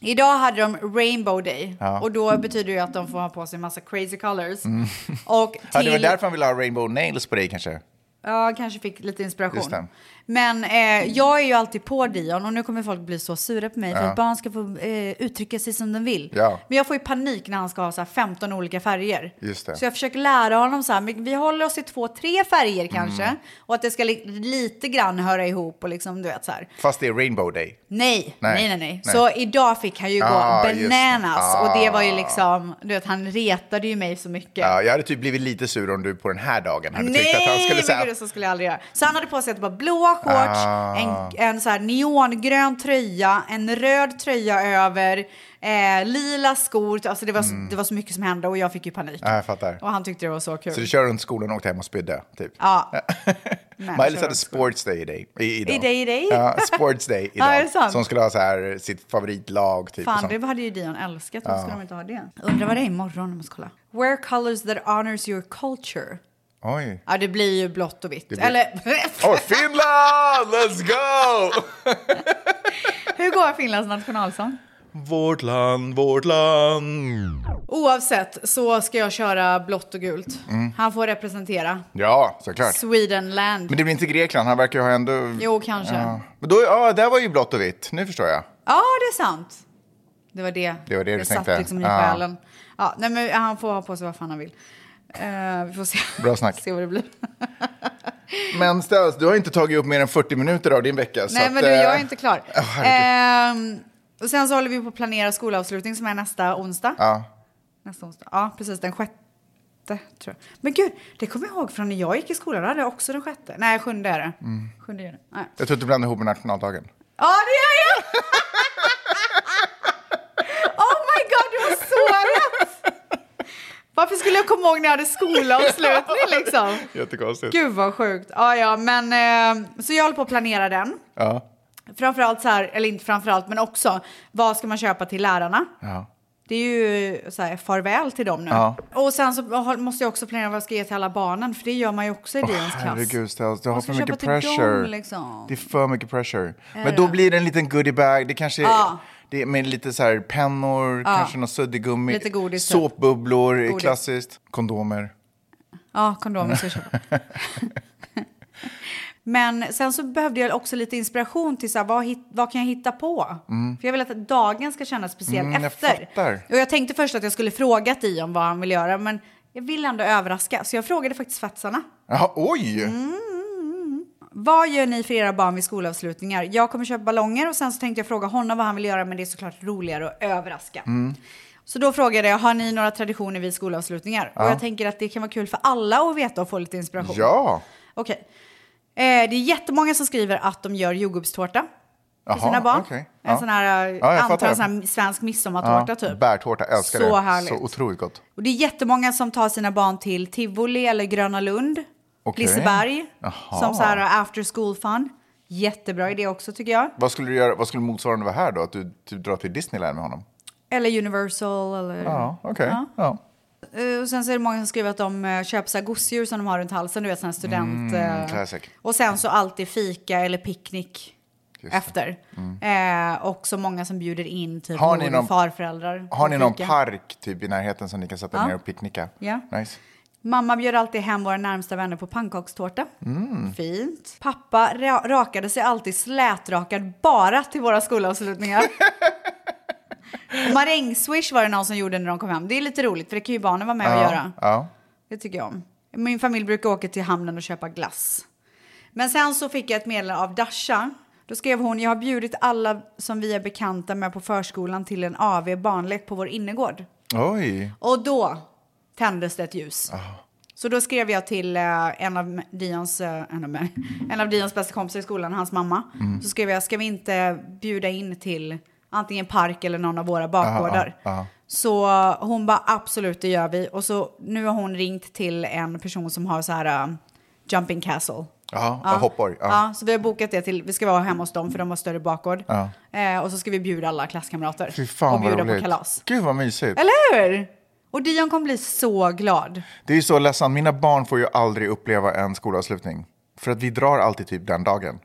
Idag hade de rainbow day Ja. Mm. och då betyder det ju att de får ha på sig massa crazy colors. Och Ja, till... det var därför han ville ha rainbow nails på dig kanske. Ja, han kanske fick lite inspiration. Just det. Men eh, jag är ju alltid på Dion och nu kommer folk bli så sura på mig för att barn ska få eh, uttrycka sig som de vill. Ja. Men jag får ju panik när han ska ha så här 15 olika färger. Just det. Så jag försöker lära honom så här, men vi håller oss i två, tre färger kanske. Mm. Och att det ska li- lite grann höra ihop och liksom du vet så här. Fast det är rainbow day. Nej, Nej, nej, nej, nej. nej. Så idag fick han ju gå Ah, just det. bananas och det var ju Ah. liksom, du vet han retade ju mig så mycket. Ja, jag hade typ blivit lite sur om du på den här dagen hade Nej, tyckt att han skulle men säga... Ah. gud, så skulle jag aldrig göra. Så han hade på sig ett par blåa shorts, en, en så här neongrön tröja, en röd tröja över, eh, lila skor. Alltså det var, så, Mm. det var så mycket som hände och jag fick ju panik. Ja, jag fattar. Och han tyckte det var så kul. Ah. Så du kör runt skolan och åkte hem och spydde, typ? Ja. kör Miley runt hade sports day i dig. I, idag. I dig, i dig? Ja, sports day Ja, är idag. det sant? som skulle ha så här sitt favoritlag, typ. och Fan, sånt. Ah. det hade ju Dion älskat. Varför skulle de inte ha det? Undrar vad det är imorgon, jag måste kolla. Wear colors that honors your culture. Oj. Ja, det blir ju blått och vitt. Eller Åh, Finland! Let's go! hur går Finlands nationalsång? Vårt land, vårt land. Oavsett så ska jag köra blått och gult. Mm. Han får representera Ja, såklart. Swedenland. Men det blir inte Grekland, han verkar ju ha ändå... Jo, kanske. Ja. Ja. Men då, ja, där var ju blått och vitt. Nu förstår jag. det är sant. Det var det. Det var det du satt tänkte. liksom i Ja. själen. Ja, nej, men han får ha på sig vad fan han vill. Eh, vi får se. Bra snack. se vad det blir. Men Stas, du har inte tagit upp mer än 40 minuter av din vecka. så Nej, att, men du, eh, jag är inte klar. Ja, herregud. Ehm, och sen så håller vi på att planera skolavslutning som är nästa onsdag. Ja. Nästa onsdag. Ja, precis. Den sjätte, tror jag. Men gud, det kommer jag ihåg från när jag gick i skolan. Då hade jag också den sjätte. Nej, sjunde är det. Mm. Sjunde juni. Nej. Jag tror att du blandar ihop med nationaldagen. Ja, det gör jag! oh my god, du har så rätt! Varför skulle jag komma ihåg när jag hade skolavslutning liksom? Jättekonstigt. Gud vad sjukt. Ja, ja, men eh, så jag håller på att planera den. Ja. Framförallt så här, eller inte framförallt, men också vad ska man köpa till lärarna? Ja. Det är ju så här, farväl till dem nu. Ja. Och sen så har- måste jag också planera vad jag ska ge till alla barnen, för det gör man ju också i Åh, DNs klass. herregud Stas, du har Man ska för mycket köpa till dem, pressure. liksom. Det är för mycket pressure. Men då blir det en liten goodiebag. Det kanske är, Ja. det är med lite så här pennor, kanske något suddigummi. Lite godis, typ. Såpbubblor är Godis. klassiskt. Kondomer. Ja, kondomer ska jag köpa. Men sen så behövde jag också lite inspiration till så här, vad, hit, vad kan jag hitta på? För jag vill att dagen ska kännas speciell Mm, jag efter. fattar. Och jag tänkte först att jag skulle fråga Dion vad han vill göra, men jag vill ändå överraska. Så jag frågade faktiskt svetsarna. Jaha, oj! Mm. Vad gör ni för era barn vid skolavslutningar? Jag kommer köpa ballonger och sen så tänkte jag fråga honom vad han vill göra, men det är såklart roligare att överraska. Mm. Så då frågade jag, har ni några traditioner vid skolavslutningar? Och jag tänker att det kan vara kul för alla att veta och få lite inspiration. Ja! Okej. Eh, det är jättemånga som skriver att de gör jordgubbstårta Jaha, till sina barn. okej. En Ja. sån här, eh, Ja, jag antar fattar. en sån här svensk midsommartårta typ. Bärtårta, älskar Så det. härligt. Så otroligt gott. Och det är jättemånga som tar sina barn till Tivoli eller Gröna Lund, Okej. Liseberg, Jaha. som så här after school fun. Jättebra idé också tycker jag. Vad skulle, du göra, vad skulle motsvarande vara här då? Att du typ drar till Disneyland med honom? Mm. Eller Universal eller... Ja, okej. Ja. Eh, Och sen så är det många som skriver att de eh, köper så här gosedjur som de har runt halsen, du vet sån här student... Mm, eh, classic. och sen så alltid fika eller picknick Just det. Mm. efter. Eh, och så många som bjuder in typ Har ni mor och någon- farföräldrar. Har ni till någon fika. park typ i närheten som ni kan sätta Ja. ner och picknicka? Ja. Nice. Mamma bjöd alltid hem våra närmsta vänner på pannkakstårta. Fint. Pappa ra- rakade sig alltid slätrakad bara till våra skolavslutningar. Och Marängswish var det någon som gjorde när de kom hem. Det är lite roligt för det kan ju barnen vara med och göra. Ja. Det tycker jag om. Min familj brukar åka till hamnen och köpa glass. Men sen så fick jag ett meddelande av Dasha. Då skrev hon, jag har bjudit alla som vi är bekanta med på förskolan till en AV barnlek på vår innergård. Oj. Och då tändes det ett ljus. Ah. Så då skrev jag till eh, en, av Dions, eh, en, av, mig- en av Dions bästa kompisar i skolan, hans mamma. Mm. Så skrev jag, ska vi inte bjuda in till antingen park eller någon av våra bakgårdar? Aha, aha. Så hon bara, absolut det gör vi. Och så nu har hon ringt till en person som har så här eh, jumping castle. Ja, ja. hoppborg. Ja. Ja, så vi har bokat det till, vi ska vara hemma hos dem för de har större bakgård. Ja. Eh, och så ska vi bjuda alla klasskamrater. Fy fan och vad bjuda roligt. på kalas. Gud vad mysigt. Eller hur? Och Dion kommer bli så glad. Det är ju så ledsamt, mina barn får ju aldrig uppleva en skolavslutning. För att vi drar alltid typ den dagen.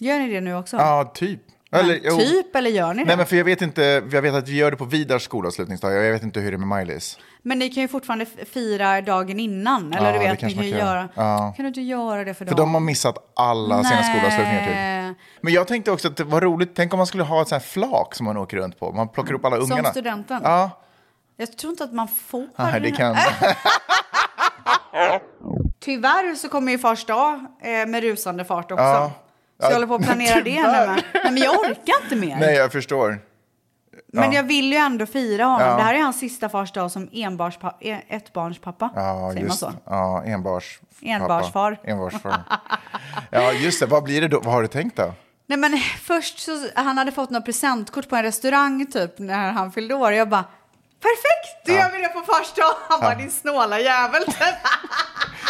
Gör ni det nu också? Ja, typ. Eller, jo. typ, eller gör ni det? Nej men men... för jag vet inte, jag vet att vi gör det på Vidars skolavslutningsdag, jag vet inte hur det är med Maj-Lis. ni kan ju fortfarande f- fira dagen innan. Eller Ja, du det vet, ni kanske kan ju man kan göra... göra. Ja. Kan du inte göra det för dem? För de har missat alla sina Nej. skolavslutningar typ. Men jag tänkte också att det var roligt, tänk om man skulle ha ett sånt här flak som man åker runt på, man plockar upp alla Som ungarna. studenten? Ja, Jag tror inte att man får nej, det den- kan. Tyvärr så kommer ju första dag eh, med rusande fart också. Ja. Så jag Ja, håller på att planera det nu tyvärr. med. Nej, men jag orkar inte mer. Nej, jag förstår. Men jag vill ju ändå fira honom. Ja. Det här är hans sista fars dag som enbarnspa- e- ettbarnspappa. Ja, säger just man så? Ja, enbars. Enbarsfar. pappa. Enbarsfar. ja, just det. Vad blir det då? Vad har du tänkt då? Nej men först så, han hade fått något presentkort på en restaurang typ när han fyllde år. Jag bara, perfekt, då gör vi det på första dag. Han bara, din snåla jävel.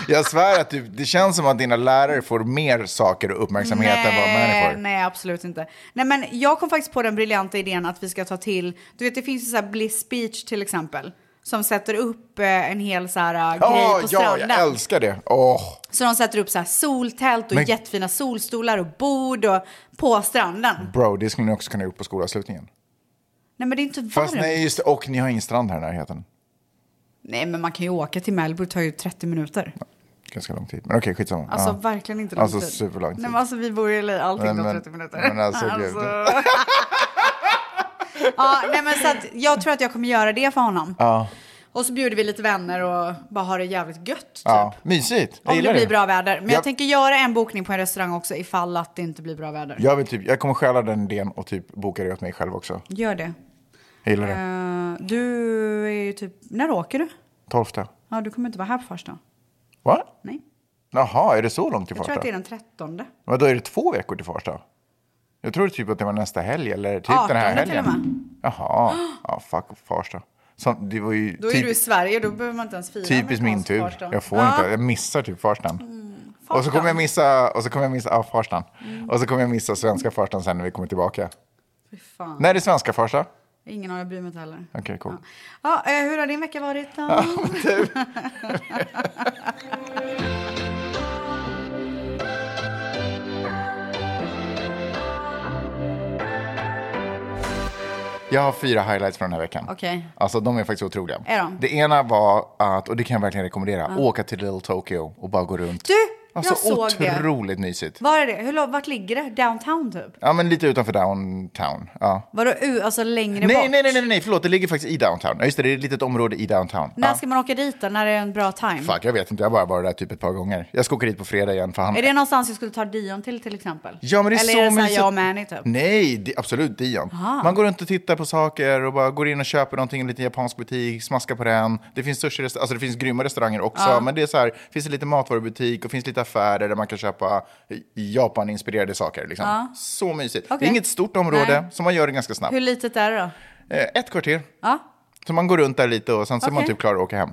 Jag svär att du, det känns som att dina lärare får mer saker och uppmärksamhet än vad människor Eh, nej, absolut inte. Nej men jag kom faktiskt på den briljanta idén att vi ska ta till, du vet det finns ju så här Bliss Beach till exempel. Som sätter upp eh, en hel så här eh, grej Ja, på ja, stranden. jag älskar det. Åh, så de sätter upp så här soltält och Men- jättefina solstolar och bord och på stranden. bro, det skulle ni också kunna gjort på skolavslutningen. Nej men det är inte varmt. Fast nej, just det, och ni har ingen strand här i närheten. Nej men man kan ju åka till Malibu, det tar ju 30 minuter. Ganska lång tid, men okej, skitsamma. Alltså Ja. verkligen inte lång Alltså, tid. superlång tid. Nej, men alltså vi bor ju i LA, allting Men- tar men- 30 minuter. men alltså, gud. ja, nej, men så att jag tror att jag kommer göra det för honom. Och så bjuder vi lite vänner och bara har det jävligt gött. Typ. Ja, mysigt. Jag Om det gillar blir bra väder. Men jag Ja. tänker göra en bokning på en restaurang också ifall att det inte blir bra väder. Jag, vill typ, jag kommer stjäla den idén och typ boka det åt mig själv också. Gör det. Jag gillar det. Eh, du är ju typ... När åker du? Tolfte. Ja, du kommer inte vara här på första. Va? Nej. Jaha, är det så långt till Jag tror Farsta? att det är den trettonde. Men då är det två veckor till Farsta? Jag tror typ att det var nästa helg eller typ den 18 här till och helgen. med. Jaha, ja, fuck Farsta. Så, det var ju Då är typ, du i Sverige, då behöver man inte ens fira. typiskt min amerikansk tur. farsdag. Jag får Ja, Mm. inte, jag missar typ Farstan. Och så farsdag. kommer jag missa, och så kommer jag missa, ja, Farstan. Mm. Och så kommer jag missa svenska Farstan sen när vi kommer tillbaka. Fy fan. När är det svenska Farsta? Ingen har jag bryr mig inte heller. Okej, cool. Ja, eh, hur har din vecka varit då? Ah. Jag har fyra highlights från den här veckan. Okej. Alltså de är faktiskt otroliga. Är de? Det ena var att, och det kan jag verkligen rekommendera, åka till Little Tokyo och bara gå runt. Du, alltså, jag såg det. otroligt mysigt. Var är det? Hur, lo- vart ligger det? Downtown typ? Ja, men lite utanför downtown. Ja. Vadå, u- alltså längre Nej, bort? nej, nej, nej, nej, förlåt, det ligger faktiskt i downtown. Ja, just det, det är ett litet område i downtown. När Ja. ska man åka dit då? När är en bra time? Ah. Fuck, jag vet inte, jag har bara varit där typ ett par gånger. Jag ska åka dit på fredag igen för han... Är det någonstans jag skulle ta Dion till till exempel? Ja, men det är Eller så är det så här mysigt. Mm. jag och Manny typ? Nej, det, absolut Dion. Man går runt och tittar på saker och bara går in och köper någonting i en liten japansk butik, smaskar på den. Det finns sushi, alltså det finns grymma restauranger också, men det är så här, finns det lite matvarubutik och finns lite affärer där man kan köpa Japan-inspirerade saker. Liksom. Så mysigt. Det Okej. är inget stort område, Nej. så man gör det ganska snabbt. Hur litet är det då? Eh, ett kvarter. Ja. Så man går runt där lite och sen så är man Okej. Mm. typ klar att åka hem.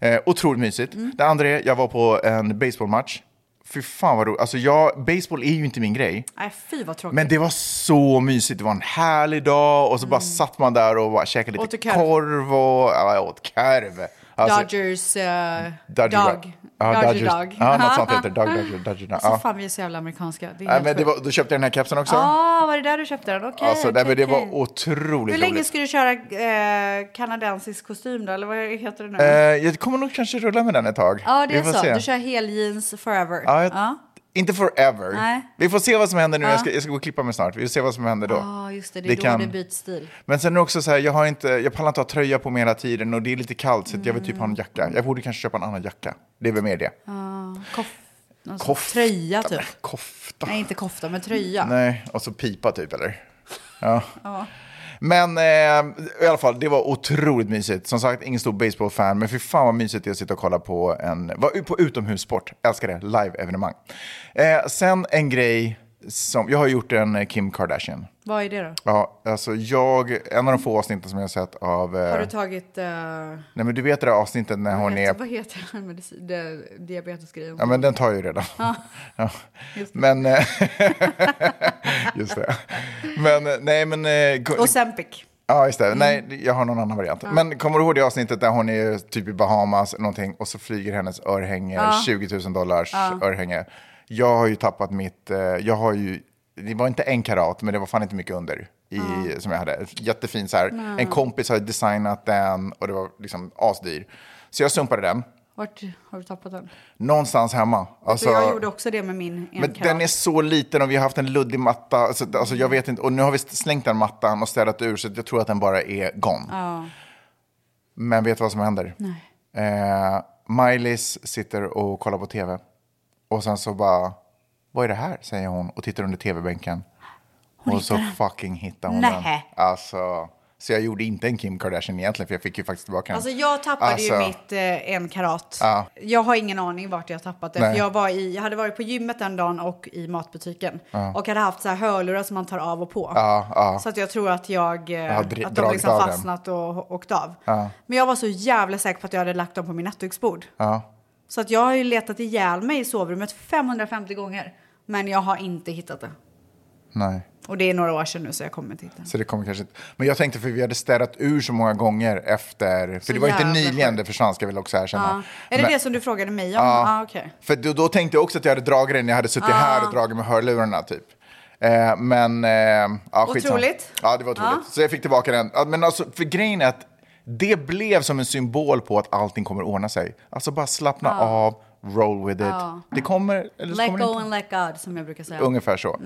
Eh, otroligt mysigt. Det andra är, jag var på en baseballmatch. Fy fan vad roligt. Alltså jag, baseball är ju inte min grej. Nej, fy vad tråkigt. Men det var så mysigt. Det var en härlig dag och så bara satt man där och bara käkade lite Mm. Åt du korv? korv och ja, jag åt korv. Alltså, Dodgers eh, Dodger- dog. Ja, Dodger Dodgers. dog. Ja, något sånt heter det. Dog, Dodger, Dodger dog. Alltså Ja. fan vi är så jävla amerikanska. Det är Nej, helt men det sjukt. var, då köpte jag den här kepsen också. Ah, var det där du köpte den? Okej. alltså, nej, okej, men det var okej. otroligt Hur länge roligt. ska du köra eh, kanadensisk kostym då? Eller vad heter det nu? Eh, Ja, jag kommer nog kanske rulla med den ett tag. det är Vi får så. se. Du kör hel jeans forever. Ja, jag, Ja. Inte forever. Nej. Vi får se vad som händer nu. Jag, ska, jag ska gå och klippa mig snart. Vi får se vad som händer då. Ja, just det. Det är Det då kan- det byts stil. Men sen är det också så här, jag, har inte, jag pallar inte ha tröja på mig hela tiden och det är lite kallt så att jag vill Mm. typ ha en jacka. Jag borde kanske köpa en annan jacka. Det är väl mer det. Kof... någon sån Kofta. Tröja typ. Kofta. Nej, inte kofta, men tröja. Nej, och så pipa typ eller? Ja. Men eh, i alla fall, det var otroligt mysigt. Som sagt, ingen stor baseballfan, men fy fan vad mysigt det är att sitta och kolla på, en, vad- på utomhussport. Älskar det, live-evenemang. Eh, sen en grej som, jag har gjort en eh, Kim Kardashian. Vad är det då? Ja, alltså jag, en av de få avsnitten som jag har sett av... Eh, Har du tagit... eh, Nej men du vet det där avsnittet när hon är... Heter, vad heter den medicin, det- diabetesgrejen? Ja men den tar jag ju redan. Ja. Men... eh, just det. Men eh, nej men... eh, ko- Och Sempic. Ja just det, Mm. nej jag har någon annan variant. Men kommer du ihåg det avsnittet där hon är typ i Bahamas eller någonting och så flyger hennes örhänge, 20 000 dollars örhänge. Jag har ju tappat mitt, eh, jag har ju, det var inte en karat men det var fan inte mycket under. I, Som jag hade, jättefin så här. En kompis hade designat den och det var liksom asdyr. Så jag sumpade den. Vart har du tappat den? Någonstans hemma. Alltså, Så jag gjorde också det med min men den är så liten och vi har haft en luddig matta. Alltså, alltså, jag vet inte. Och nu har vi slängt den mattan och städat ur så jag tror att den bara är gone. Men vet du vad som händer? Eh, Miley's sitter och kollar på tv. Och sen så bara, vad är det här? Säger hon och tittar under tv-bänken. och så fucking hittar hon Nähä. den. Alltså, så jag gjorde inte en Kim Kardashian egentligen för jag fick ju faktiskt tillbaka den. Alltså jag tappade ju Alltså, mitt eh, en karat. Jag har ingen aning vart jag tappat det. Nej. För jag, var i, jag hade varit på gymmet den dagen och i matbutiken. Och hade haft så här hörlurar som man tar av och på. Så att jag tror att jag, eh, har dr- att de dragit liksom av den. fastnat och åkt av. Men jag var så jävla säker på att jag hade lagt dem på min nattduksbord. Ja. Så att jag har ju letat ihjäl mig i sovrummet 550 gånger. Men jag har inte hittat det. Nej. Och det är några år sedan nu så jag kommer inte hitta det. Så det kommer kanske inte. Men jag tänkte för vi hade städat ur så många gånger efter. För det var ju inte jävla nyligen sjukt. det försvann ska jag väl också erkänna. Ja. Är det Men- det som du frågade mig om? Ja, ah, okej. För då, då tänkte jag också att jag hade dragit den när jag hade suttit här och dragit med hörlurarna typ. Eh, men, eh, ja skitsamma. Otroligt. Ja det var otroligt. Så jag fick tillbaka den. Ja, Men alltså för grejen är att det blev som en symbol på att allting kommer ordna sig. Alltså bara slappna av, roll with it. Det kommer, eller så Let kommer det go inte. and let God som jag brukar säga. Ungefär så.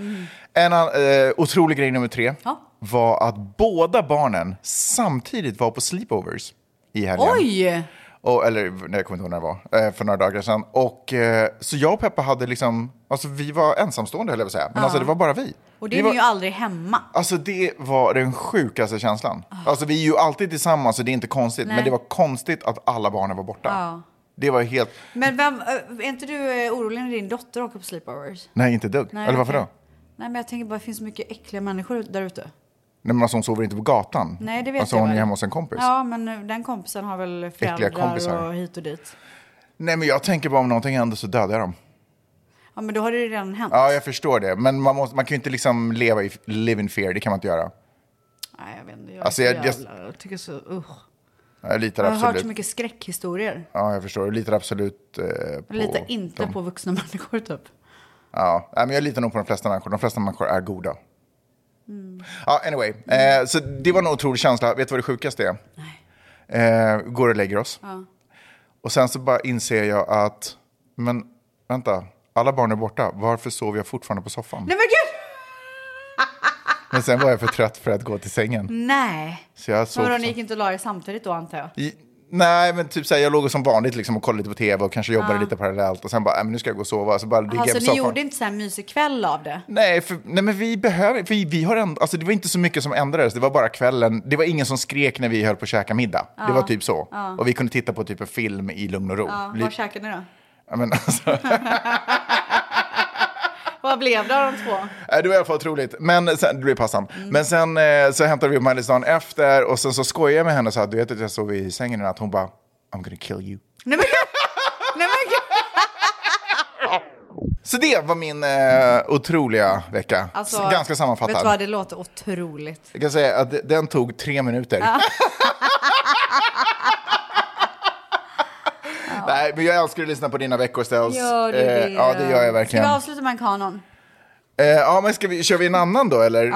En annan, eh, otrolig grej nummer tre Mm. Ja. var att båda barnen samtidigt var på sleepovers i helgen. Oj! Och, eller nej, jag kommer inte ihåg när det var, eh, för några dagar sedan. Och, eh, så jag och Peppa hade liksom, alltså vi var ensamstående höll jag på att säga, men alltså det var bara vi. Och det Vi är var, ni ju aldrig hemma. Alltså det var den sjukaste känslan. Alltså vi är ju alltid tillsammans så det är inte konstigt, Ah. Nej. men det var konstigt att alla barnen var borta. Det var helt, Men vem, eh, är inte du eh, orolig när din dotter åker på sleepovers? nej inte ett dugg. Nej, eller varför okej. då? Nej, men jag tänker bara, det finns så mycket äckliga människor ut- där ute. Nej men alltså hon sover inte på gatan. Nej, det vet alltså jag hon väl. är hemma hos en kompis. Ja, men eh, den kompisen har väl föräldrar kompisar. och hit och dit. Nej men jag tänker bara om någonting händer så dödar jag dem. Ja, men då har det ju redan hänt. Ja jag förstår det, men man, måste, man kan ju inte liksom leva i live in fear, det kan man inte göra. Nej, jag vet inte. Jag, är Alltså, så jag- jag- jävla, jag tycker så, usch. Jag litar Jag har hört absolut. så mycket skräckhistorier. Ja, jag förstår. Jag litar absolut eh, på... Jag litar inte dem. på vuxna människor typ. Ja, nej, men jag litar nog på de flesta människor. De flesta människor är goda. Mm. Ja, anyway. Eh, så det var en otrolig känsla. Vet du vad det sjukaste är? Eh, går och lägger oss. Och sen så bara inser jag att, men vänta, alla barn är borta. Varför sover jag fortfarande på soffan? Nej men gud! Men sen var jag för trött för att gå till sängen. Nej. Så jag Så sov... vadå, ni gick inte och la er samtidigt då antar jag? I- Nej, men typ så här, jag låg som vanligt liksom och kollade lite på tv och kanske jobbade lite parallellt. Och sen bara, nej, men nu ska jag gå och sova. Så bara ligger jag Alltså på ni soffan. gjorde inte så här mysig kväll av det? Nej, för, nej men vi behöver för vi har änd- alltså Det var inte så mycket som ändrades. Det var bara kvällen. Det var ingen som skrek när vi höll på att käka middag. Det var typ så. Och vi kunde titta på typ en film i lugn och ro. Ja, Li- vad käkade ni då? ja, men, alltså, Vad blev det av de två? nej, det var i alla fall otroligt. Men sen, det blev passan. Mm. Men sen eh, så hämtade vi upp henne dagen efter och sen så skojade jag med henne och sa du vet att jag sov i sängen i natt. Hon bara I'm gonna kill you. Nej men gud! Nej men gud! Så det var min eh, otroliga vecka. S- Ganska Alltså, Vet du vad, sammanfattad. det låter otroligt. Jag kan säga att det- den tog tre minuter. Nej, men jag älskar att lyssna på dina veckoställs. Gör du Eh, det? Ja, det gör jag verkligen. Ska vi avsluta med en kanon? Eh, ja, men ska vi, kör vi en annan då, eller?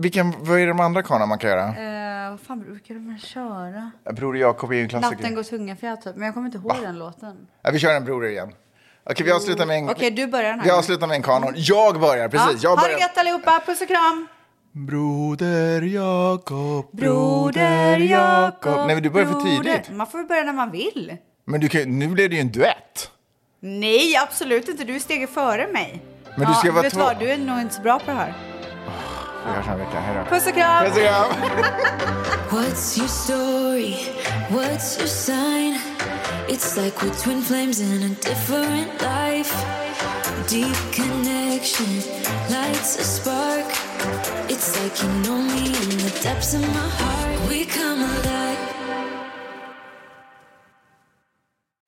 Vilken, vad är de andra kanorna man kan göra? Eh, vad fan brukar man köra? Broder Jakob är ju en klassiker. Natten går tunga fjät typ, men jag kommer inte ihåg den låten. Ja, vi kör en broder igen. Okej, vi avslutar med en... Okej, du börjar den här Vi gången. avslutar med en kanon. Jag börjar, precis. Ja, Jag ha det börjar. gött allihopa, puss och kram! Broder Jakob, Broder Jakob, Nej, men du börjar för broder- tidigt. Man får väl börja när man vill. Men du kan, ju- nu blev det ju en duett. Nej, absolut inte. Du är steget före mig. Men du ska vara vet två. vad, du är nog inte så bra på det här. Vi hörs om en vecka. Hej då. Puss och kram! Puss och kram. What's your story? What's your sign? It's like we're twin flames in a different life. Deep connection lights a spark. It's like you know me in the depths of my heart. We come alive.